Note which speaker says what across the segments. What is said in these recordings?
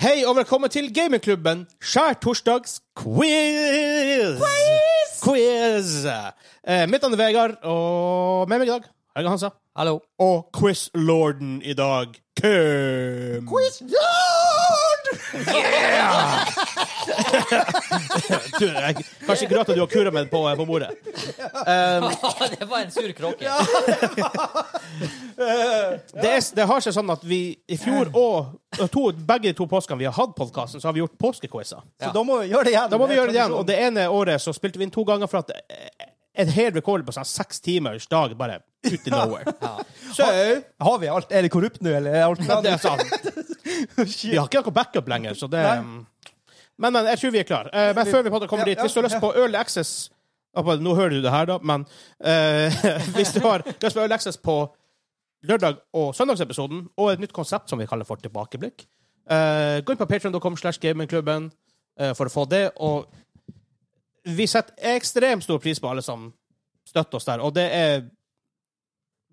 Speaker 1: Hei og velkommen til gamingklubben Skjær torsdags quiz! Quiz! Eh, mitt navn er Vegard, og med meg i dag Helge Hansa.
Speaker 2: Hallo.
Speaker 1: Og quizlorden i dag, Kim. Du, jeg, kanskje ikke rart at du har kura meg på, eh, på bordet.
Speaker 2: det var en sur kråke.
Speaker 1: Det, er, det har seg sånn at vi i fjor og og to, begge de to påskene vi har hatt podkasten, så har vi gjort påskequizer.
Speaker 2: Ja.
Speaker 3: Da må vi gjøre det igjen.
Speaker 1: Da må vi gjøre det igjen. Og det ene året så spilte vi inn to ganger for at eh, en hel rekord på sånn seks timers dag bare ut i nowhere. Så
Speaker 3: Har vi alt? Er det korrupt nå, eller? Er alt
Speaker 1: ja, det er sant. Vi har ikke noe backup lenger, så det Men, men, jeg tror vi er klare. men før vi på en måte kommer
Speaker 3: Ja,
Speaker 1: dit, hvis du
Speaker 3: ja,
Speaker 1: har lyst på Early Access ja, på- Nå hører du det her, da, men eh, hvis du har lyst på Early Access på lørdag- og søndagsepisoden, og et nytt konsept som vi kaller for Tilbakeblikk, eh, gå inn på patreon.com slash gamingklubben eh, for å få det, og vi setter ekstremt stor pris på alle som støtter oss der, og det er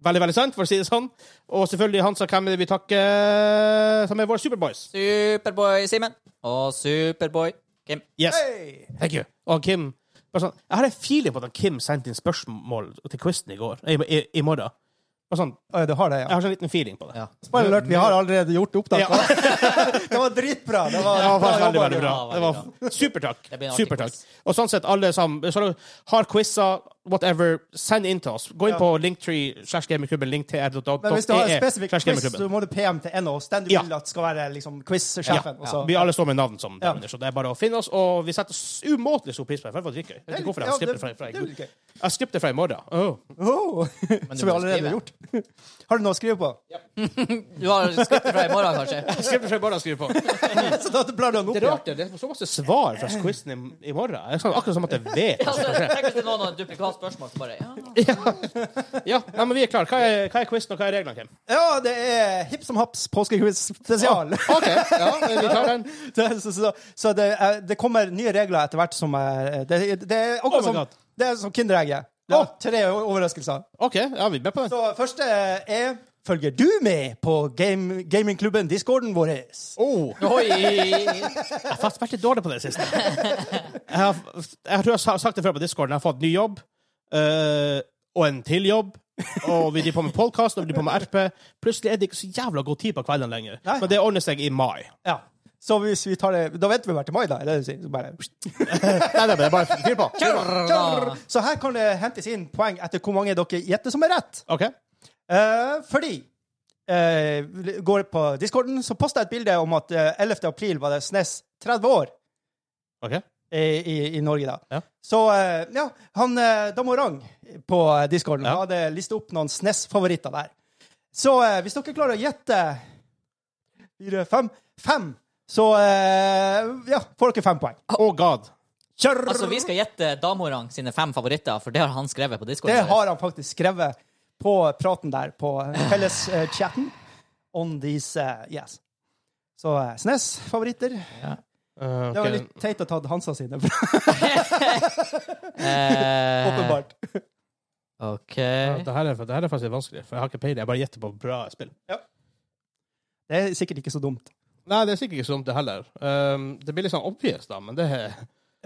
Speaker 1: veldig, veldig sant, for å si det sånn. Og selvfølgelig Hansa, hvem er det vi takker, som er våre Superboys.
Speaker 2: Superboy Simen og Superboy Kim.
Speaker 1: Yes. Thank you. Og Kim bare sånn, Jeg har en feeling på at Kim sendte inn spørsmål til quizen i går. I, i, i morgen. Bare sånn,
Speaker 3: Ja, du har det,
Speaker 1: jeg
Speaker 3: ja.
Speaker 1: har sånn en liten feeling på det.
Speaker 3: Spoiler alert, vi har allerede gjort opptak.
Speaker 1: Ja.
Speaker 3: Det var dritbra. Det var,
Speaker 1: Det var faktisk veldig,
Speaker 3: jobba,
Speaker 1: veldig
Speaker 3: du.
Speaker 1: bra.
Speaker 2: Ja,
Speaker 1: Det
Speaker 2: veldig
Speaker 1: var Supertakk.
Speaker 2: Det blir en artig
Speaker 1: Supertakk.
Speaker 2: quiz.
Speaker 1: Og sånn sett, alle sammen så har quizer, whatever, send inn til oss. Gå inn på linktree slash gamingklubben,
Speaker 3: Men hvis du har en
Speaker 1: linktr.ee
Speaker 3: spesifikk
Speaker 1: slash
Speaker 3: quiz, så
Speaker 1: gamingklubben.
Speaker 3: må du PM til en av oss. Den du
Speaker 1: Ja.
Speaker 3: vil at skal være liksom,
Speaker 1: Ja,
Speaker 3: quiz-sjefen. og
Speaker 1: ja.
Speaker 3: så-
Speaker 1: Vi alle står med navn som
Speaker 3: Ja.
Speaker 1: der under, så det er bare å finne oss. Og vi setter s- umåtelig stor pris på det. for Det var dritgøy. Jeg vet ikke hvorfor jeg
Speaker 3: Ja,
Speaker 1: har skippet
Speaker 3: det-
Speaker 1: fra, fra,
Speaker 3: det er jo gøy.
Speaker 1: jeg skippet det fra i morgen. Åh.
Speaker 3: Oh, som vi
Speaker 2: må
Speaker 3: allerede
Speaker 2: skrive.
Speaker 3: har gjort. Har du noe å skrive på?
Speaker 2: Du har skutt fra i morgen, kanskje?
Speaker 1: Jeg skippet det fra i morgen, skriver jeg på.
Speaker 3: Så da blar du den opp
Speaker 1: Det er
Speaker 3: igjen.
Speaker 1: rart, det. Det er så masse svar fra quizen i, i morgen. Det er sånn, akkurat som at jeg vet.
Speaker 2: Ja, så tenk hvis det er noen har et duplikat spørsmål, så bare ja.
Speaker 1: Ja, nei, men vi er klare. Hva er, hva er quizen, og hva er reglene, Kim?
Speaker 3: Ja, det er hipp som haps påskequiz spesial.
Speaker 1: OK, ja, vi tar den.
Speaker 3: Det- Så, så, så det, er- det kommer nye regler etter hvert som er Det, det er
Speaker 1: Oh my
Speaker 3: akkurat som,
Speaker 1: God. Oh!
Speaker 3: det er som Kinderegget.
Speaker 1: Ja.
Speaker 3: Å, Tre overraskelser.
Speaker 1: OK, ja, vi er med på den.
Speaker 3: Så første er Følger du med på game, gamingklubben Discorden vår?
Speaker 1: Oh,
Speaker 2: Oi!
Speaker 1: jeg har faktisk vært litt dårlig på det siste. Jeg, har, jeg tror jeg har sagt det før på discorden. Jeg har fått ny jobb, eh, og en til jobb. Og vi driver på med podkast og vi driver på med RP. Plutselig er det ikke så jævla god tid på kveldene lenger.
Speaker 3: Nei.
Speaker 1: Men det ordner seg i mai.
Speaker 3: Ja. Så hvis vi tar det Da venter vi bare til mai, da. Eller, så bare,
Speaker 1: Nei, det er bare fyr på.
Speaker 2: Tjørr!
Speaker 3: så her kan det hentes inn poeng etter hvor mange dere gjetter som er rett.
Speaker 1: OK.
Speaker 3: Eh, fordi eh, Går på Discorden, så posta jeg et bilde om at eh, 11. april var det SNES 30 år.
Speaker 1: ok
Speaker 3: i, i, i Norge, da.
Speaker 1: Ja.
Speaker 3: Så eh, ja, han eh, Damorang på eh, discorden
Speaker 1: Ja.
Speaker 3: hadde listet opp noen SNES-favoritter der. Så eh, hvis dere klarer å gjette fire, fem, fem, så eh, ja, får dere fem poeng.
Speaker 1: Oh god.
Speaker 3: Kjør!
Speaker 2: Altså, vi skal gjette Damorang sine fem favoritter, for det har han skrevet på Discord.
Speaker 3: Det har han faktisk skrevet på praten der, på felles-chatten. On these eh, Yes. Så eh, SNES-favoritter.
Speaker 1: Eh, ok.
Speaker 3: Det var litt teit å ta Hansa sine,
Speaker 2: Eh,
Speaker 3: åpenbart.
Speaker 2: OK.
Speaker 1: Ja, Det her, er, det her er faktisk litt vanskelig, for jeg har ikke peiling. Jeg bare gjetter på bra spill.
Speaker 3: Det er sikkert ikke så dumt.
Speaker 1: Nei, det er sikkert ikke så dumt, det heller. Um, det blir litt sånn obvious, da, men det er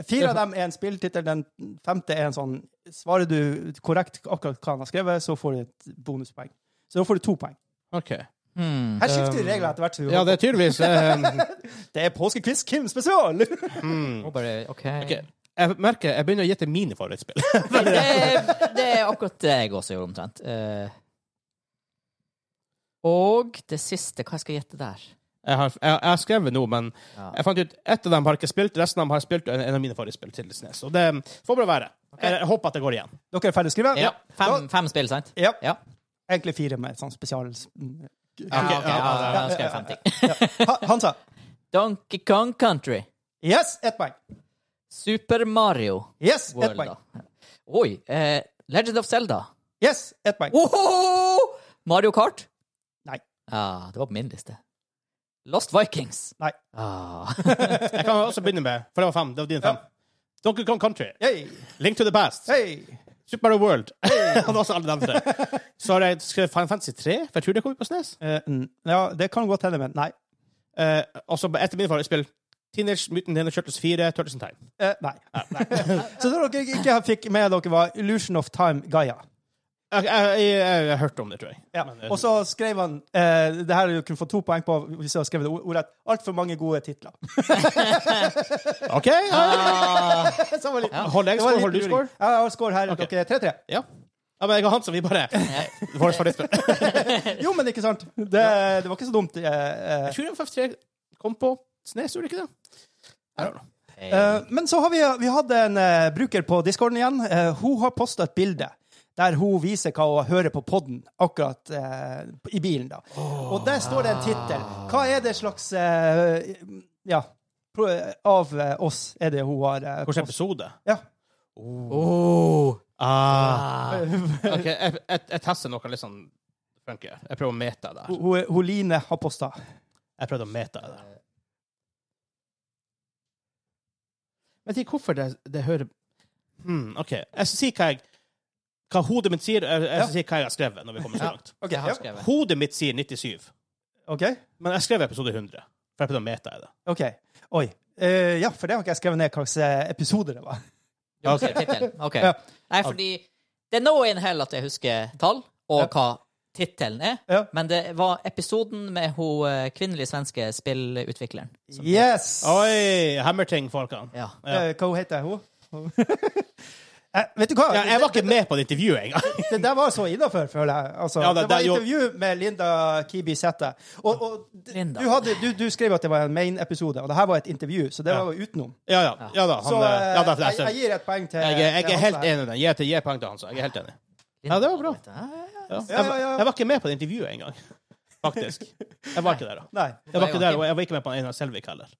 Speaker 3: Fire av dem er en spilltittel, den femte er en sånn Svarer du korrekt akkurat hva han har skrevet, så får du et bonuspoeng. Så da får du to poeng.
Speaker 1: OK.
Speaker 2: Hmm.
Speaker 3: Her skifter vi regler etter hvert. så vi
Speaker 1: Ja,
Speaker 3: håper-
Speaker 1: det er tydeligvis um,
Speaker 3: det er påskequiz Kim spesial!
Speaker 2: Må bare- OK.
Speaker 1: ok. Jeg merker jeg begynner å gjette mine favorittspill.
Speaker 2: Men Det, det er akkurat det jeg også gjorde, omtrent. Eh, og det siste, hva skal jeg gjette der?
Speaker 1: Jeg har, jeg, jeg har skrevet noe, men
Speaker 2: Ja.
Speaker 1: jeg fant ut ett av dem har jeg ikke spilt, resten av dem har jeg spilt, og en, en av mine favorittspill til SNES. Og det um, får bare være. Jeg, jeg håper at det går igjen.
Speaker 3: Dere er ferdig å skrive?
Speaker 2: Ja, fem, fem spill, sant?
Speaker 3: Ja.
Speaker 2: Ja.
Speaker 3: Egentlig fire med et sånn spesial...
Speaker 2: Ja, ok, ja,
Speaker 1: ja,
Speaker 2: da skal jeg fem ting.
Speaker 3: Ha, Hansa.
Speaker 2: Donkey Kong Country.
Speaker 3: Yes, ett poeng.
Speaker 2: Super Mario
Speaker 3: Yes, ett
Speaker 2: World,
Speaker 3: poeng.
Speaker 2: da. Oi. Eh, Legend of Zelda.
Speaker 3: Yes, ett poeng.
Speaker 2: Ohoho! Mario Kart.
Speaker 3: Nei.
Speaker 2: Ah, det var på min liste. Lost Vikings.
Speaker 3: Nei.
Speaker 2: Ah.
Speaker 1: Jeg kan også begynne med, for det var fem. Det var dine fem. Donkey Kong Country.
Speaker 3: Hey.
Speaker 1: Link to the Past.
Speaker 3: Hey.
Speaker 1: Super Mario World. Og også alle de tre. Så har jeg skrevet Final Fantasy 3, for jeg tror det kommer på SNES.
Speaker 3: Eh, mm, ja, det kan godt hende, men nei.
Speaker 1: Eh, altså, etter min erfaring, spill Teenage Mutant Ninja Turtles 4, Turtles in Time.
Speaker 3: Eh, nei. så det dere ikke fikk med dere, var Illusion of Time Gaia.
Speaker 1: Jeg, jeg, jeg, jeg, har hørt om det, tror jeg.
Speaker 3: Ja.
Speaker 1: Men, eh,
Speaker 3: Og så skrev han eh, Det her kunne få to poeng på hvis jeg hadde skrevet det or- ordrett. Altfor mange gode titler.
Speaker 1: OK! Ja.
Speaker 2: Ah,
Speaker 3: Så det var litt-
Speaker 1: Holder jeg
Speaker 3: det
Speaker 1: score?
Speaker 3: var litt
Speaker 1: Holder du
Speaker 3: luring.
Speaker 1: score?
Speaker 3: Ja, jeg har score her.
Speaker 1: Ok.
Speaker 3: Dere er 3-3.
Speaker 1: Ja. ja. Men jeg og Hansa, vi bare Vårt favorittspill.
Speaker 3: Jo, men ikke sant? Det, det var ikke så dumt. Eh, eh.
Speaker 1: Jeg tror MFF3 kom på Snes, gjorde det ikke det? I don't know.
Speaker 2: eh,
Speaker 3: Eh, men så har vi, vi hadde en eh, bruker på discorden igjen. Eh, hun har posta et bilde der hun viser hva hun hører på podden akkurat eh, i bilen. da. Og der står det en tittel. Hva er det slags eh, Ja. pro- Av eh, oss er det hun har eh,
Speaker 1: Hvilken
Speaker 3: post-
Speaker 1: episode?
Speaker 3: Ja.
Speaker 2: oh,
Speaker 1: Ah.
Speaker 2: ah.
Speaker 3: Eh,
Speaker 1: OK, jeg, jeg, jeg tester noe litt sånn funky. Jeg prøver å meta det her.
Speaker 3: Hun- Hun, hun Line har posta.
Speaker 1: Jeg prøvde å meta det. Vet ikke hvorfor det, det hører hmm, OK. Jeg skal si hva jeg hva hodet mitt sier, jeg, jeg skal si hva jeg har skrevet. når vi kommer så langt.
Speaker 2: Jeg har
Speaker 3: ja.
Speaker 2: skrevet.
Speaker 1: Hodet mitt sier 97,
Speaker 3: OK?
Speaker 1: men jeg skrev episode 100. For jeg prøvde å meta i det.
Speaker 3: OK. Oi. Eh, ja, for det har ikke jeg skrevet ned hvilken episode det var.
Speaker 2: Du har skrevet tittelen. OK.
Speaker 3: Ja.
Speaker 2: Nei, fordi det er nå in hell at jeg husker tall, og hva tittelen er.
Speaker 3: Ja.
Speaker 2: Men det var episoden med hun eh, kvinnelige svenske spillutvikleren. som-
Speaker 3: Yes!
Speaker 1: Oi! Hammerting-folkene.
Speaker 2: Ja.
Speaker 1: Ja.
Speaker 3: Eh, hva hun heter hun? Eh, vet du hva?
Speaker 1: Ja, jeg var ikke med på det intervjuet engang.
Speaker 3: Det der var så innafor, føler jeg. Altså,
Speaker 1: Ja, det-
Speaker 3: det, var
Speaker 1: det- jo.
Speaker 3: intervju med Linda Kibi Sæthe. Og, og d-
Speaker 2: Linda.
Speaker 3: du, hadde, du, du skrev at det var en main-episode, og det her var et intervju, så det
Speaker 1: Ja.
Speaker 3: var jo utenom.
Speaker 1: Ja, ja. ja da. Han,
Speaker 3: så eh,
Speaker 1: ja, da, jeg,
Speaker 3: jeg, jeg gir et poeng til
Speaker 1: jeg, jeg,
Speaker 3: til
Speaker 1: er
Speaker 3: Hansa
Speaker 1: helt
Speaker 3: her.
Speaker 1: enig i den. Gi, til- gi poeng til Hansa. Jeg er helt enig. Ja, det var bra. Ja.
Speaker 3: Ja, ja, ja.
Speaker 1: Jeg, jeg var ikke med på det intervjuet engang, faktisk. Jeg var ikke der, da.
Speaker 3: Nei,
Speaker 1: Jeg var ikke der, og jeg var ikke med på Einar Selvik heller.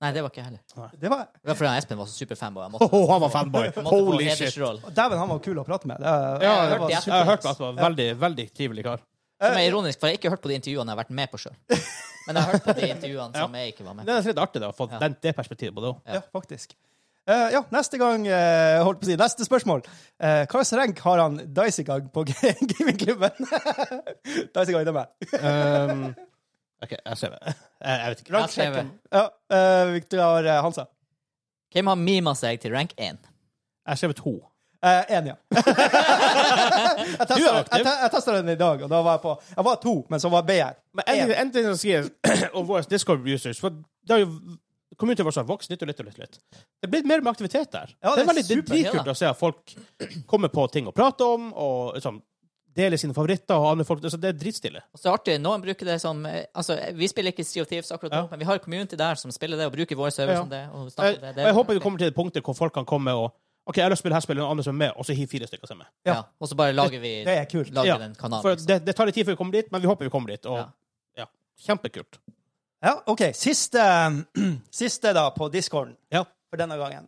Speaker 2: Nei, det var ikke jeg heller.
Speaker 3: det var
Speaker 2: Det var fordi han Espen var så superfan. og Jeg måtte,
Speaker 1: Åh, han var fanboy!
Speaker 2: måtte få
Speaker 1: Holy shit!
Speaker 2: hedersroll.
Speaker 3: Dæven, han var kul å prate med. Det,
Speaker 1: Ja,
Speaker 3: det
Speaker 1: jeg,
Speaker 3: var
Speaker 2: hørte
Speaker 1: jeg
Speaker 3: super-
Speaker 1: har hørt at han var veldig, veldig trivelig kar.
Speaker 2: Som er ironisk, for jeg har ikke hørt på de intervjuene jeg har vært med på sjøl. Men jeg har hørt på de intervjuene som jeg ikke var med
Speaker 1: Det
Speaker 2: på.
Speaker 1: er nesten litt artig da, å få den, det perspektivet på det òg.
Speaker 2: Ja.
Speaker 3: ja, faktisk. Eh, ja, neste gang eh, Holdt på å si, neste spørsmål. Uh, hva slags rank har han Dicegang på gamingklubben? Dicegang, det er meg.
Speaker 1: Um, OK, jeg ser det. Jeg, jeg vet ikke.
Speaker 2: Jeg skrev,
Speaker 3: Ja, eh, Victor eh, Hansa.
Speaker 2: Hvem har mima seg til rank 1?
Speaker 1: Jeg skrev to.
Speaker 3: Eh, en, ja. jeg,
Speaker 1: Du
Speaker 3: testet,
Speaker 1: er
Speaker 3: jeg,
Speaker 1: aktiv.
Speaker 3: te- jeg testet den i dag, og da var jeg på Jeg var to, men så var B her.
Speaker 1: Men endelig, endelig så sier om våre Discord users For det har jo communityen vår som har vokst litt og litt og litt. og litt. Det er blitt mer og mer aktivitet der.
Speaker 3: Ja,
Speaker 1: det, er
Speaker 3: det er
Speaker 1: veldig det er
Speaker 3: super,
Speaker 2: ja
Speaker 1: dritkult
Speaker 2: da.
Speaker 1: å se at folk kommer på ting å prate om, og liksom, deler sine favoritter og andre folk. Altså, det er dritstille.
Speaker 2: Og så er det artig, Noen bruker det som eh, Altså, Vi spiller ikke Sea of Thieves akkurat nå,
Speaker 1: Ja.
Speaker 2: men vi har community der som spiller det og bruker vår server
Speaker 1: Ja.
Speaker 2: som det. Og snakker
Speaker 1: Jeg,
Speaker 2: om det.
Speaker 1: og
Speaker 2: Det er
Speaker 1: jeg håper vi
Speaker 2: artig.
Speaker 1: kommer til det punktet hvor folk kan komme og OK, jeg har lyst til å spille her spillet, og andre som er med, og så hiver fire stykker seg med.
Speaker 2: ja. Og så bare lager vi
Speaker 3: Det er kult.
Speaker 2: lager
Speaker 1: Ja,
Speaker 2: den kanalen.
Speaker 1: For
Speaker 2: liksom.
Speaker 1: det, det tar litt tid før vi kommer dit, men vi håper vi kommer dit. Og, ja. Kjempekult.
Speaker 3: Ja, OK. Siste, siste da, på discorden
Speaker 1: Ja.
Speaker 3: for denne gangen.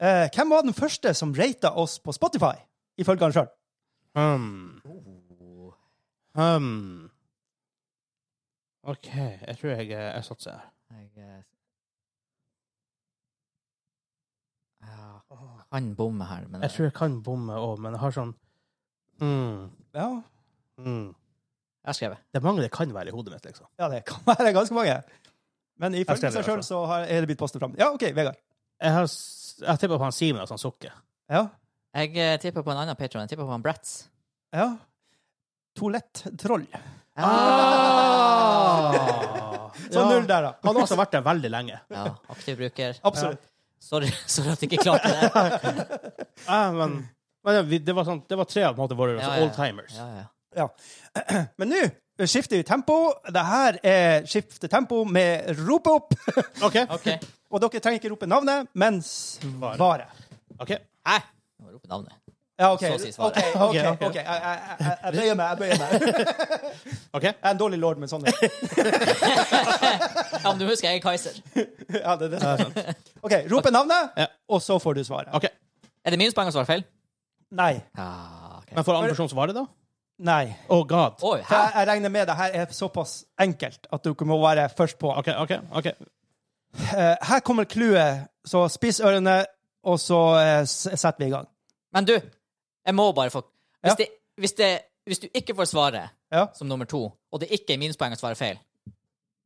Speaker 3: Eh, hvem var den første som rata oss på Spotify, ifølge han sjøl?
Speaker 1: Hmm. Hmm. OK, jeg tror jeg, eh, jeg satser her.
Speaker 2: Jeg eh, ja, jeg kan bomme her, men
Speaker 1: Jeg tror jeg kan bomme òg, men jeg har sånn mm,
Speaker 3: Ja.
Speaker 1: mm.
Speaker 2: jeg har skrevet.
Speaker 1: Det er mange det kan være i hodet mitt, liksom.
Speaker 3: ja, det kan være ganske mange. Men
Speaker 1: Jeg skrev
Speaker 3: ifølge
Speaker 1: det, altså.
Speaker 3: seg sjøl så har er det blitt postet fram. Ja, OK, Vegard.
Speaker 1: Jeg har, s- jeg har tippa på han Simen at han sukker.
Speaker 3: Ja.
Speaker 2: Jeg eh, tipper på en annen patron. Jeg tipper på han Bratz.
Speaker 3: ja. Toalett-troll. Så
Speaker 1: Ja.
Speaker 3: null der, da.
Speaker 1: Han har også vært Ah! Sånn der veldig lenge.
Speaker 2: Ja, aktiv bruker.
Speaker 3: Absolutt.
Speaker 2: Sorry, sorry at jeg ikke klarte det.
Speaker 1: Ja, men men det, vi- det, var sånn, det var tre av på en måte våre
Speaker 2: Ja,
Speaker 1: altså,
Speaker 2: ja.
Speaker 1: oldtimers.
Speaker 2: Ja, ja.
Speaker 3: Ja. Men nå skifter vi tempo. Det her er skifte tempo med rop opp.
Speaker 1: OK.
Speaker 2: OK.
Speaker 3: Og dere trenger ikke rope navnet, men svaret.
Speaker 1: ok.
Speaker 2: Hæ? Jeg må rope navnet.
Speaker 3: Ja, OK.
Speaker 2: Så si svaret.
Speaker 3: OK, ok, ok. Jeg, jeg, jeg, jeg bøyer meg. Jeg bøyer meg. Jeg
Speaker 1: ok.
Speaker 3: er en dårlig lord, men sånn er det.
Speaker 2: Ja, men du husker jeg er Kaiser.
Speaker 3: Ja, det, det. er sant. OK, rope navnet,
Speaker 1: Ja.
Speaker 3: og så får du svaret.
Speaker 1: ok.
Speaker 2: Er det minuspoeng å svare feil?
Speaker 3: Nei.
Speaker 2: Ja, OK.
Speaker 1: Men for andre person svaret, da?
Speaker 3: Nei.
Speaker 1: Oh god.
Speaker 2: Oi,
Speaker 3: For
Speaker 2: hæ?
Speaker 3: jeg, jeg regner med det her er såpass enkelt at dere må være først på.
Speaker 1: OK, OK. ok.
Speaker 3: Eh, Her kommer clouet, så spiss ørene, og så eh, s- setter vi i gang.
Speaker 2: Men du, jeg må bare få hvis,
Speaker 3: Ja.
Speaker 2: det, hvis, det, hvis du ikke får svaret
Speaker 3: Ja.
Speaker 2: som nummer to, og det ikke er minuspoeng å svare feil,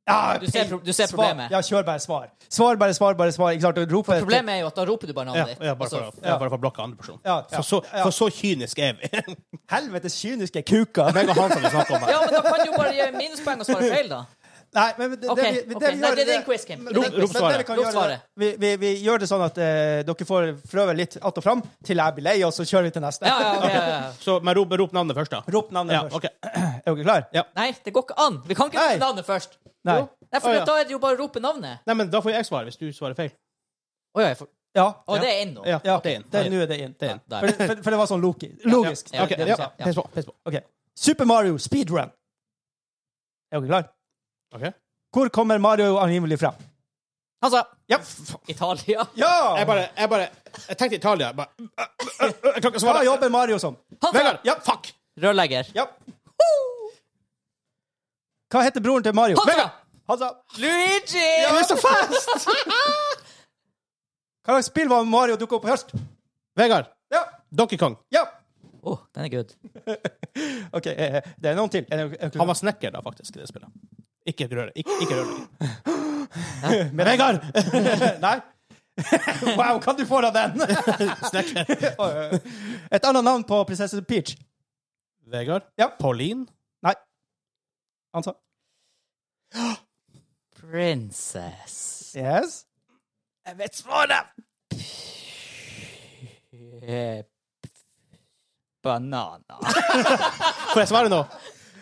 Speaker 3: Ja,
Speaker 2: Du ser pro- du ser
Speaker 3: svar-
Speaker 2: problemet.
Speaker 3: Ja, kjør bare svar. Svar, bare svar, bare svar. Ikke sant? Og rope etter-
Speaker 2: Problemet er jo at da roper du bare
Speaker 1: Ja,
Speaker 2: navnet ditt. altså,
Speaker 1: ja, bare,
Speaker 2: og så-
Speaker 1: for, ja, bare for å blokke andre person.
Speaker 3: Ja, ja,
Speaker 1: for, så,
Speaker 3: ja.
Speaker 1: for så kynisk er vi. Det
Speaker 3: Helvetes kyniske kuker.
Speaker 1: er han som vi snakker om her.
Speaker 2: ja, men da kan du jo bare gi minuspoeng og svare feil, da.
Speaker 3: Nei, men det,
Speaker 2: Ok,
Speaker 3: det, vi,
Speaker 2: ok.
Speaker 3: det vi
Speaker 2: Nei,
Speaker 3: gjør
Speaker 2: det er din quiz, Kim.
Speaker 3: Men-
Speaker 1: Rop-
Speaker 3: men-
Speaker 1: rop
Speaker 3: men
Speaker 1: svaret.
Speaker 3: det vi kan
Speaker 2: Rop
Speaker 3: gjøre-
Speaker 2: svaret.
Speaker 3: Vi, vi, vi gjør det sånn at eh, dere får prøve litt att og fram til jeg blir lei, og så kjører vi til neste.
Speaker 2: Ja, ja, ok, ja, ja.
Speaker 1: Så, men rop, rop navnet først, da.
Speaker 3: Rop navnet
Speaker 1: Ja,
Speaker 3: først.
Speaker 1: ok.
Speaker 3: Er dere klare?
Speaker 1: Ja.
Speaker 2: Nei, det går ikke an. Vi kan ikke
Speaker 3: Nei.
Speaker 2: rope navnet først.
Speaker 3: Nei.
Speaker 1: Jo.
Speaker 2: Nei, for
Speaker 1: Å, ja.
Speaker 2: da er det jo bare å rope navnet.
Speaker 1: Nei, men da får jeg svare hvis du svarer feil.
Speaker 2: Å ja, jeg får...
Speaker 3: Ja.
Speaker 2: Å, det er inn nå.
Speaker 1: Ja,
Speaker 3: ja.
Speaker 1: det er en.
Speaker 3: Det- Nå er det inn.
Speaker 1: Det er en.
Speaker 2: Der.
Speaker 3: For, for, for det var sånn loki. logisk.
Speaker 2: Ja,
Speaker 1: Ok,
Speaker 2: det er
Speaker 1: ja.
Speaker 2: sant, ja.
Speaker 1: Pes på. Pes på.
Speaker 3: Ok. Super Mario speedrun. Er dere klare?
Speaker 1: Ok.
Speaker 3: Hvor kommer Mario angivelig fra?
Speaker 2: Han sa
Speaker 3: Ja!
Speaker 2: Italia.
Speaker 1: Jeg bare, jeg bare Jeg tenkte Italia. Jeg, bare, jeg kan ikke
Speaker 3: Hva
Speaker 1: svare.
Speaker 3: jobber Mario som?
Speaker 2: Han sa
Speaker 1: Vegard! Ja, fuck!
Speaker 2: rørlegger.
Speaker 3: Ja. Hva heter broren til Mario?
Speaker 2: Han sa
Speaker 1: Vegard!
Speaker 3: Han sa
Speaker 2: Luigi!
Speaker 1: Du er så fast!
Speaker 3: Hva slags spill var Mario dukka opp i høst?
Speaker 1: Vegard.
Speaker 3: Ja!
Speaker 1: Donkey Kong.
Speaker 3: Ja!
Speaker 2: Å, den er good.
Speaker 3: OK, eh, det er noen til. Er det- er det-
Speaker 1: Han var snekker da, faktisk, i det spillet. Ikke røre. Ikke, ikke røre.
Speaker 3: Men Vegard! Nei? Wow, kan du få deg den?
Speaker 1: Snekker.
Speaker 3: Et annet navn på prinsesse Peach?
Speaker 1: Vegard.
Speaker 3: Ja.
Speaker 1: Pauline.
Speaker 3: Nei. Han sa
Speaker 2: Princess
Speaker 3: Yes.
Speaker 1: Jeg vet svaret!
Speaker 2: Eh, Banana.
Speaker 1: Får jeg svare nå?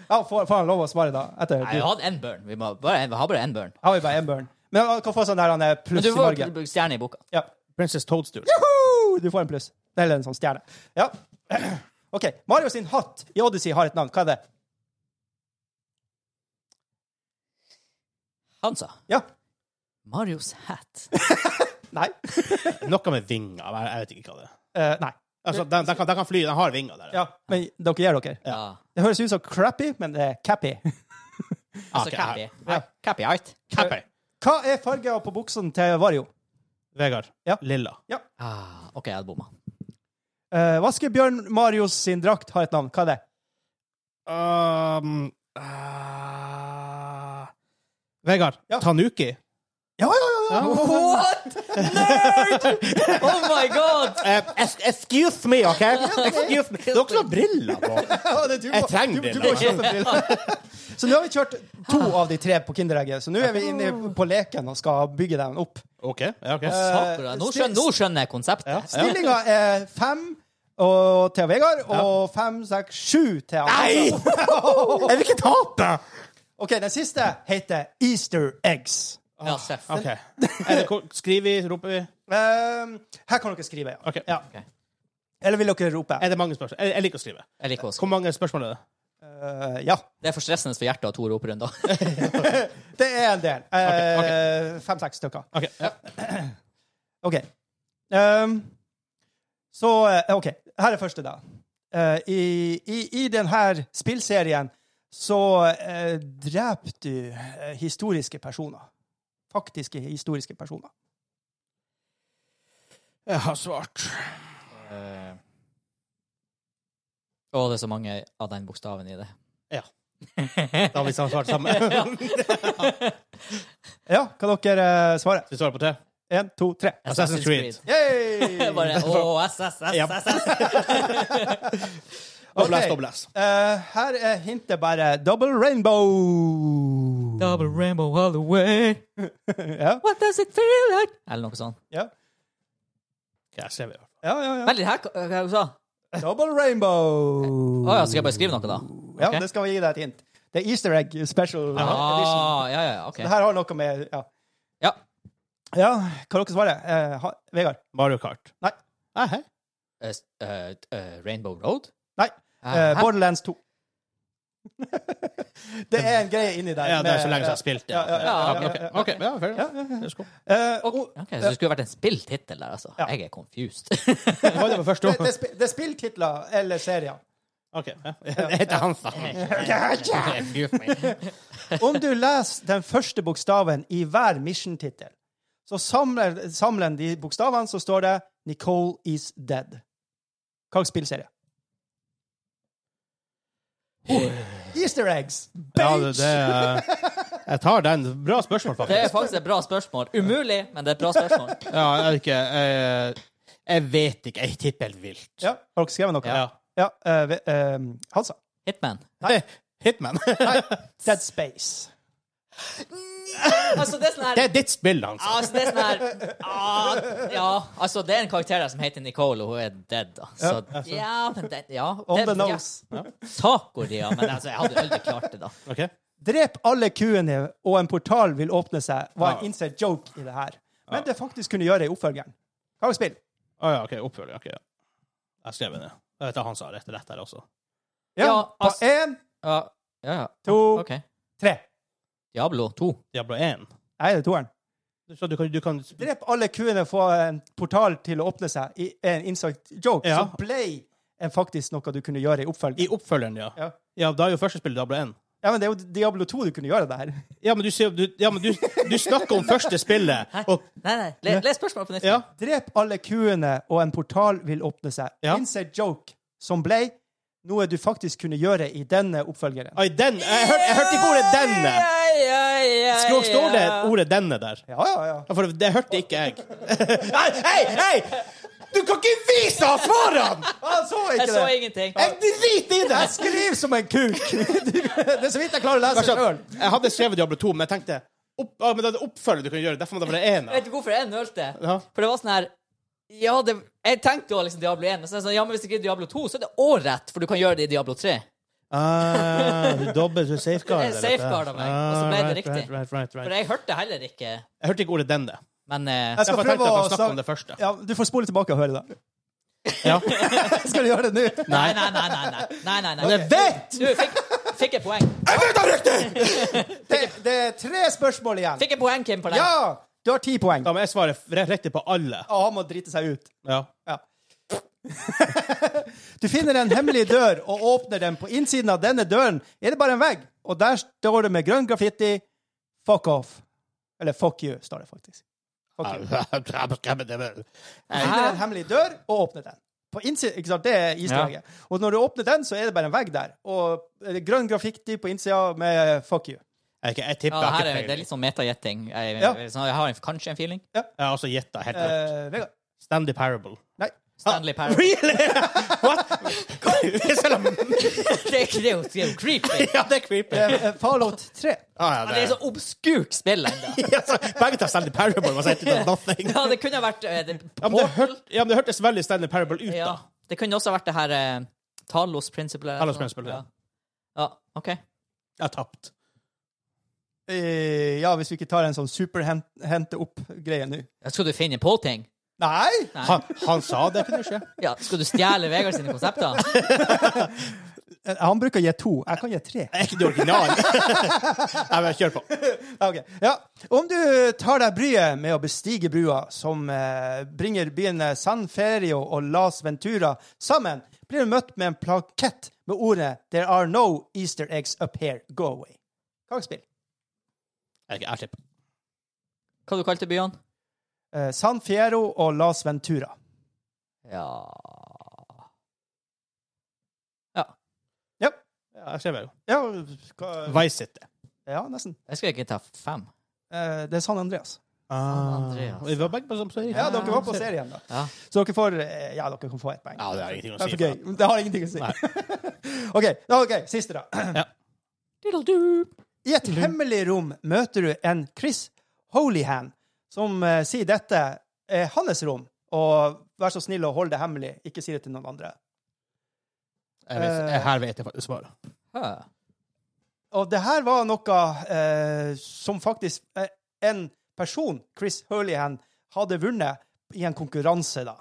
Speaker 3: Ja, får, får han lov å svare, da? Etter
Speaker 2: Nei, vi hadde en burn. Vi må bare, vi har bare en burn.
Speaker 3: Har vi bare én burn? Men han kan få sånn der han er
Speaker 2: Men
Speaker 3: pluss
Speaker 2: du
Speaker 3: i
Speaker 2: får
Speaker 3: margen.
Speaker 2: stjerne i boka.
Speaker 3: Ja.
Speaker 1: Princess Toadstool.
Speaker 3: Juhu! Du får en pluss. Eller en sånn stjerne. Ja. OK. Mario sin hatt i Odyssey har et navn. Hva er det?
Speaker 2: Han sa
Speaker 3: Ja.
Speaker 2: Marios hat.
Speaker 3: Nei.
Speaker 1: Noe med vinger. Jeg, jeg vet ikke hva det er.
Speaker 3: Eh, nei.
Speaker 1: Altså, den, den, kan, den kan fly. Den har vinger der.
Speaker 3: Ja, men dere gir dere.
Speaker 2: Ja.
Speaker 3: Det høres ut som crappy, men det er cappy.
Speaker 1: Ah,
Speaker 2: Altså
Speaker 1: ok,
Speaker 2: Cappy.
Speaker 1: her.
Speaker 2: Ja. Cappy Art.
Speaker 1: Cappy.
Speaker 3: Hva er fargen på buksene til Vario?
Speaker 1: Vegard.
Speaker 3: Ja.
Speaker 1: Lilla.
Speaker 2: Ah, OK, jeg hadde bomma.
Speaker 3: Eh, Vaskebjørn Marios sin drakt har et navn. Hva er det?
Speaker 1: Um, ah, Vegard.
Speaker 3: Ja.
Speaker 1: Tanuki.
Speaker 3: Ja, ja, ja! ja.
Speaker 2: What?! Nerd! Oh my god!
Speaker 1: Eh, excuse me, OK? Excuse me. Dere som har briller på.
Speaker 3: Ja, det er du,
Speaker 1: Jeg trenger
Speaker 3: du, du,
Speaker 1: briller.
Speaker 3: går og kjøper briller. Så nå har vi kjørt to av de tre på Kinderegget, så nå er vi inne på leken og skal bygge dem opp.
Speaker 1: OK. Ja, ok.
Speaker 2: Sakura, Nå skjønner, nå skjønner jeg konseptet.
Speaker 3: Stillinga er fem og, til Vegard og fem, seks, sju til han.
Speaker 1: Jeg vil ikke tape!
Speaker 3: OK, den siste heter Easter eggs.
Speaker 2: Ja, seff.
Speaker 1: OK. Er det, hvor- skriver vi, roper vi?
Speaker 3: Eh, her kan dere skrive. Ja.
Speaker 1: OK.
Speaker 2: Ok.
Speaker 3: Eller vil dere rope?
Speaker 1: Er det mange spørsmål? Jeg, jeg liker å skrive.
Speaker 2: Jeg liker også.
Speaker 1: Hvor mange spørsmål er det?
Speaker 3: Eh, ja.
Speaker 2: Det er for stressende for hjertet å ha to roperunder.
Speaker 3: Det er en del.
Speaker 1: Ok,
Speaker 3: Fem-seks stykker.
Speaker 1: OK. Ja.
Speaker 3: OK. Ehm, så eh, OK. Her er første, da. Eh, i, i, I denne spillserien så uh, dreper du eh, historiske personer. Faktiske historiske personer.
Speaker 1: Jeg har svart.
Speaker 2: Eh. Å, det er så mange av den bokstaven i det.
Speaker 1: Ja. Da har vi svart sammen.
Speaker 3: Ja, kan dere eh, svare?
Speaker 1: Vi svarer på tre.
Speaker 3: Én, to, tre.
Speaker 1: Assassin's Creed.
Speaker 3: Yay!
Speaker 2: Bare å, SSSSS.
Speaker 1: Dobles,
Speaker 3: Ok.
Speaker 1: dobles.
Speaker 3: Eh, her er hintet bare double rainbow.
Speaker 2: Double rainbow all the way.
Speaker 3: Ja,
Speaker 2: What does it feel like? Eller noe sånt.
Speaker 3: ja,
Speaker 1: Ja, ser vi.
Speaker 3: ja. ja, ja.
Speaker 2: Vent litt, her, hva hva sa du?
Speaker 3: Double rainbow.
Speaker 2: Å ja, skal jeg bare skrive noe, da?
Speaker 3: Ja,
Speaker 2: Ok.
Speaker 3: det skal vi gi deg et hint. Det er Easter Egg Special Edition.
Speaker 2: Ah, ja, ja, ja,
Speaker 3: liksom- Det
Speaker 2: OK.
Speaker 3: her har noe med Ja,
Speaker 2: Ja.
Speaker 3: ja hva dere svarer eh, ha, Vegard?
Speaker 1: Mario Kart.
Speaker 3: Nei.
Speaker 1: Nei, hei.
Speaker 2: Eh, s- eh, eh, Rainbow Road?
Speaker 3: Nei. Eh,
Speaker 2: Hæ?
Speaker 3: Borderlands 2. det er en greie inni der.
Speaker 1: Ja, det er så
Speaker 3: med-
Speaker 1: lenge siden jeg har spilt det.
Speaker 3: Ja, ja, ja,
Speaker 2: ja,
Speaker 1: OK,
Speaker 3: ja, ja.
Speaker 1: ok, ja, fair enough. Let's go.
Speaker 3: Eh, og-
Speaker 2: Ok, så det skulle vært en spilt tittel der, altså.
Speaker 3: Ja.
Speaker 2: Jeg er confused.
Speaker 1: Det var det på første
Speaker 3: det,
Speaker 1: år.
Speaker 3: det, er sp- det er spilltitler eller serier.
Speaker 1: OK. Ja. Jeg heter Hansa. Excuse me.
Speaker 3: Om du leser den første bokstaven i hver mission-tittel, så samler, samler en de bokstavene, så står det 'Nicole is dead'. Hva slags spillserie? Easter eggs!
Speaker 1: Ja,
Speaker 3: Bitch!
Speaker 1: det, det, er- Jeg tar den. Bra spørsmål,
Speaker 2: Det er
Speaker 1: faktisk.
Speaker 2: faktisk et bra spørsmål. Umulig, men det er et bra spørsmål.
Speaker 1: Ja, jeg, vet ikke, eh, jeg vet ikke. Jeg tipper helt vilt.
Speaker 3: Ja, Har dere skrevet noe?
Speaker 1: Ja.
Speaker 3: ja eh, ve- eh, Hansa.
Speaker 2: Hitman.
Speaker 1: Hitman.
Speaker 3: Dead Space.
Speaker 2: Altså, det er sånn her
Speaker 1: Det er ditt spill, altså.
Speaker 2: Altså, det er sånn her ah, Ja, altså, det er en karakter der som heter Nicole, og hun er dead, da. Så ja, men det Ja.
Speaker 3: On
Speaker 2: det-
Speaker 3: the nose.
Speaker 2: Ja. Taco, ja. Men altså, jeg hadde jo aldri klart det, da.
Speaker 1: Ok.
Speaker 3: Drep alle kuene, og en portal vil åpne seg, var
Speaker 1: Ja.
Speaker 3: en inside joke i det her. Men det faktisk kunne gjøre i oppfølgeren. Hva slags spill?
Speaker 1: Å ja, OK. Oppfølger. ok, ja. Jeg skrev det ned. Jeg vet at han sa rett, rett der også.
Speaker 3: Ja, altså-
Speaker 2: Ja,
Speaker 3: på
Speaker 2: ass-
Speaker 3: én,
Speaker 2: Ja, ja. ja.
Speaker 3: to,
Speaker 2: OK.
Speaker 3: tre.
Speaker 2: Diablo 2.
Speaker 1: Diablo 1.
Speaker 3: Nei, det er toeren.
Speaker 1: Så du kan, du kan
Speaker 3: Drep alle kuene, få en portal til å åpne seg, i en inside joke,
Speaker 1: Ja.
Speaker 3: som ble en faktisk noe du kunne gjøre i
Speaker 1: I
Speaker 3: oppfølgeren.
Speaker 1: oppfølgeren, ja.
Speaker 3: Ja.
Speaker 1: Ja, da er jo første spill Diablo 1.
Speaker 3: Ja, men det er jo Diablo 2 du kunne gjøre det her.
Speaker 1: Ja, men du, ser- du, ja, men du, du snakker om første spillet,
Speaker 2: Hæ?
Speaker 1: og
Speaker 2: Nei, nei. Le, les spørsmålet på nytt.
Speaker 1: Ja.
Speaker 3: Drep alle kuene, og en portal vil åpne seg.
Speaker 1: Ja.
Speaker 3: Inside joke, som ble noe du faktisk kunne gjøre i denne oppfølgeren.
Speaker 1: Oi, den Jeg hørte, jeg hørte ikke ordet 'denne'. Skrog, står det ordet 'denne' der?
Speaker 3: Ja, ja, ja.
Speaker 1: Ja, For det hørte ikke jeg. Hei, hei! hei! Du kan ikke vise han svarene!
Speaker 3: Han så
Speaker 2: Jeg
Speaker 3: ikke
Speaker 2: så
Speaker 3: det!
Speaker 2: ingenting.
Speaker 1: Jeg driter i det!
Speaker 3: Jeg skriver som en kuk! Det er så vidt jeg klarer å lese sjøl.
Speaker 1: Jeg hadde skrevet Diablo 2, men jeg tenkte opp, ja, men det er oppfølger du kan gjøre. Derfor må det være
Speaker 2: Vet
Speaker 1: én.
Speaker 2: du hvorfor jeg nølte?
Speaker 1: Ja.
Speaker 2: For det var sånn her Ja, det, jeg tenkte jo liksom Diablo 1, men så er det sånn, ja, men hvis det ikke er Diablo 2, så er det ålrett, for du kan gjøre det i Diablo 3.
Speaker 1: Ah, du dobbelt så safeguarder.
Speaker 2: Jeg safeguarda meg, og så ble det riktig.
Speaker 1: Ah, Right, right, right,
Speaker 2: For
Speaker 1: right.
Speaker 2: jeg hørte heller ikke
Speaker 1: Jeg hørte ikke ordet 'denne'.
Speaker 2: Men eh,
Speaker 3: Jeg skal
Speaker 1: Derfor
Speaker 3: prøve
Speaker 1: tenkte jeg
Speaker 3: å
Speaker 1: at han snakket om det første.
Speaker 3: Ja, du får spole tilbake og høre det.
Speaker 1: Ja.
Speaker 3: Skal du gjøre det nå?
Speaker 2: nei, nei, nei. nei, nei, nei, nei, nei.
Speaker 1: Jeg vet!
Speaker 2: Du, fikk, fikk jeg poeng?
Speaker 1: Jeg vet det er riktig!
Speaker 3: Det, det er tre spørsmål igjen.
Speaker 2: Fikk jeg poeng, Kim, på den?
Speaker 3: Ja! Du har ti poeng.
Speaker 1: Da må jeg svare re- riktig på alle.
Speaker 3: Og han må drite seg ut.
Speaker 1: Ja.
Speaker 3: Ja. Du finner en hemmelig dør og åpner den. På innsiden av denne døren er det bare en vegg, og der står det med grønn graffiti 'fuck off'. Eller 'fuck you', står det faktisk. Fuck you. Du finner en hemmelig dør og åpner den. På innsiden, ikke sant? Det er islaget. Og når du åpner den, så er det bare en vegg der. Og eh, grønn graffiti på innsida med 'fuck you'.
Speaker 1: Jeg, jeg tipper
Speaker 2: Ja, det, her
Speaker 1: jeg har
Speaker 2: er,
Speaker 1: ikke
Speaker 2: det er
Speaker 1: peiling.
Speaker 2: litt sånn metagjetting. Jeg,
Speaker 3: Ja.
Speaker 2: sånn, jeg har en, kanskje en feeling.
Speaker 1: Jeg har også gjetta helt rett.
Speaker 3: Eh, Vegard?
Speaker 1: Stanley Parable.
Speaker 3: Nei.
Speaker 2: Stanley Parable.
Speaker 1: Really? What? Selv om
Speaker 2: Det er ikke- det er jo- det er jo creepy.
Speaker 1: Ja, det er creepy.
Speaker 3: Eh, eh, Fallout 3.
Speaker 1: Ah, ja,
Speaker 2: Men det er så obskurt spill ennå.
Speaker 1: Ja, så Begge tar Stanley Parable. Man sier ikke det er nothing.
Speaker 2: Ja, det kunne ha vært eh, det,
Speaker 1: Ja, men, det hørt, ja, men det hørtes veldig Stanley Parable ut,
Speaker 2: ja.
Speaker 1: da.
Speaker 2: Det kunne også ha vært det her eh, Talos Principle. eller
Speaker 1: Talos
Speaker 2: noe.
Speaker 1: Principle, ja.
Speaker 2: ja. ja. OK.
Speaker 1: Jeg har tapt.
Speaker 3: Eh, Ja, hvis vi ikke tar en sånn superhente-opp-greie nå.
Speaker 2: Skal du finne på ting?
Speaker 3: Nei!
Speaker 2: Nei.
Speaker 1: Han, han sa det kunne skje.
Speaker 2: Ja, skal du stjele Vegard sine konsepter?
Speaker 3: Eh, Han bruker å gi to. Jeg kan gi tre.
Speaker 1: Jeg er ikke det originale. Nei, men kjør på.
Speaker 3: Ja, ok. Ja. Om du tar deg bryet med å bestige brua som eh, bringer byene San Ferio og Las Ventura sammen, blir du møtt med en plakett med ordet 'There are no Easter eggs up here. Go away'. Kakespill.
Speaker 1: Jeg, jeg slipper.
Speaker 2: Hva du kalte du byene?
Speaker 3: Eh, San Fiero og Las Ventura.
Speaker 2: Ja
Speaker 3: Ja.
Speaker 1: Ja, jeg skrev jo.
Speaker 3: Ja, hva-
Speaker 1: Vice City.
Speaker 3: ja nesten.
Speaker 2: Jeg skal ikke ta fem.
Speaker 3: Eh, det er San Andreas.
Speaker 2: Andreas.
Speaker 1: Ah. Vi var begge på samme serie.
Speaker 3: Ja, dere var på serien, da.
Speaker 2: Ja.
Speaker 3: Så dere får eh, Ja, dere kan få ett poeng.
Speaker 1: Ja, det har ingenting å
Speaker 3: Det er
Speaker 1: si.
Speaker 3: for gøy. Det har ingenting å si. OK. da- ok, Siste, da.
Speaker 2: Diddle-doo.
Speaker 3: I et hemmelig rom møter du en Chris Holyhan, som eh, sier dette er hans rom, og vær så snill å holde det hemmelig, ikke si det til noen andre.
Speaker 1: Jeg vet, jeg, her vet jeg faktisk svaret.
Speaker 2: Hæ.
Speaker 3: Og det her var noe eh, som faktisk eh, en person, Chris Holyhan, hadde vunnet i en konkurranse, da.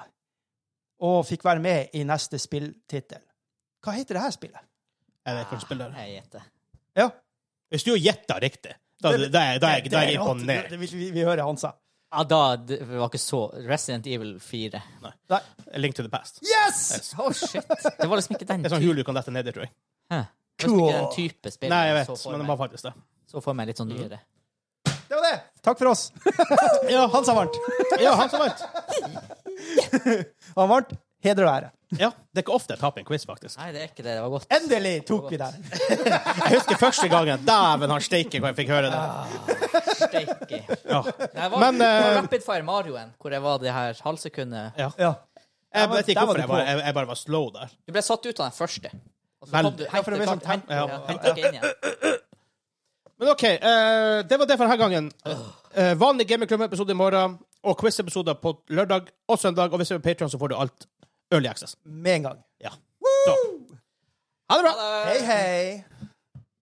Speaker 3: Og fikk være med i neste spilltittel. Hva heter det her spillet?
Speaker 1: Jeg vet hvordan spillet er.
Speaker 2: Jeg gjetter.
Speaker 3: Ja,
Speaker 1: Hvis du gjetta riktig, da, da, da, er- da, er jeg- da er jeg imponert.
Speaker 3: Det vil vi, vi hører Hansa.
Speaker 2: Ja, da det var ikke så Resident Evil 4.
Speaker 3: Nei.
Speaker 1: Link to the past.
Speaker 3: Yes!
Speaker 2: Oh, shit. Det var liksom ikke den
Speaker 1: Det er sånn
Speaker 2: type,
Speaker 1: hul du kan dette ned i, tror jeg.
Speaker 2: Hæ. Det var liksom ikke
Speaker 3: Cool.
Speaker 2: den type spill.
Speaker 1: Nei, jeg
Speaker 2: så
Speaker 1: vet,
Speaker 2: for
Speaker 1: men
Speaker 2: meg.
Speaker 1: de har faktisk det. Mm.
Speaker 2: Så får jeg meg litt sånn nyere.
Speaker 3: Det var det! Takk for oss. Hansa vant.
Speaker 1: Ja, han som vant.
Speaker 3: Han vant. Heder og ære.
Speaker 1: Ja, det er ikke ofte jeg taper en quiz, faktisk.
Speaker 2: Nei, det er ikke det. Det var godt.
Speaker 3: Endelig tok vi den!
Speaker 1: Jeg husker første gangen. Dæven, han steike hva jeg fikk høre det.
Speaker 2: Steike.
Speaker 1: Ja.
Speaker 2: Det var
Speaker 1: Men,
Speaker 2: på
Speaker 1: eh,
Speaker 2: Rapid Fire Marioen, hvor jeg var det her halvsekundet
Speaker 1: Ja.
Speaker 3: Ja.
Speaker 1: Jeg
Speaker 3: Der var-
Speaker 1: vet ikke
Speaker 3: der var
Speaker 1: hvorfor.
Speaker 3: du
Speaker 1: Jeg
Speaker 3: på.
Speaker 1: bare, jeg, jeg bare var slow der.
Speaker 2: Du ble satt ut av den første. Og så
Speaker 1: Vel.
Speaker 2: kom du,
Speaker 3: Ja, for
Speaker 2: hent,
Speaker 3: det var
Speaker 2: klart,
Speaker 3: sånn
Speaker 2: hent,
Speaker 3: temp-
Speaker 2: ja,
Speaker 3: ja.
Speaker 2: hent ikke inn igjen.
Speaker 1: Men OK, eh, det var det for denne gangen. Eh, vanlig Gamingklubben-episode i morgen, og quiz-episoder på lørdag og søndag. Og hvis du er på Patreon så får du alt early access.
Speaker 3: Med en gang.
Speaker 1: Ja. Så. Ha det bra!
Speaker 2: Ha det.
Speaker 3: Hei, hei!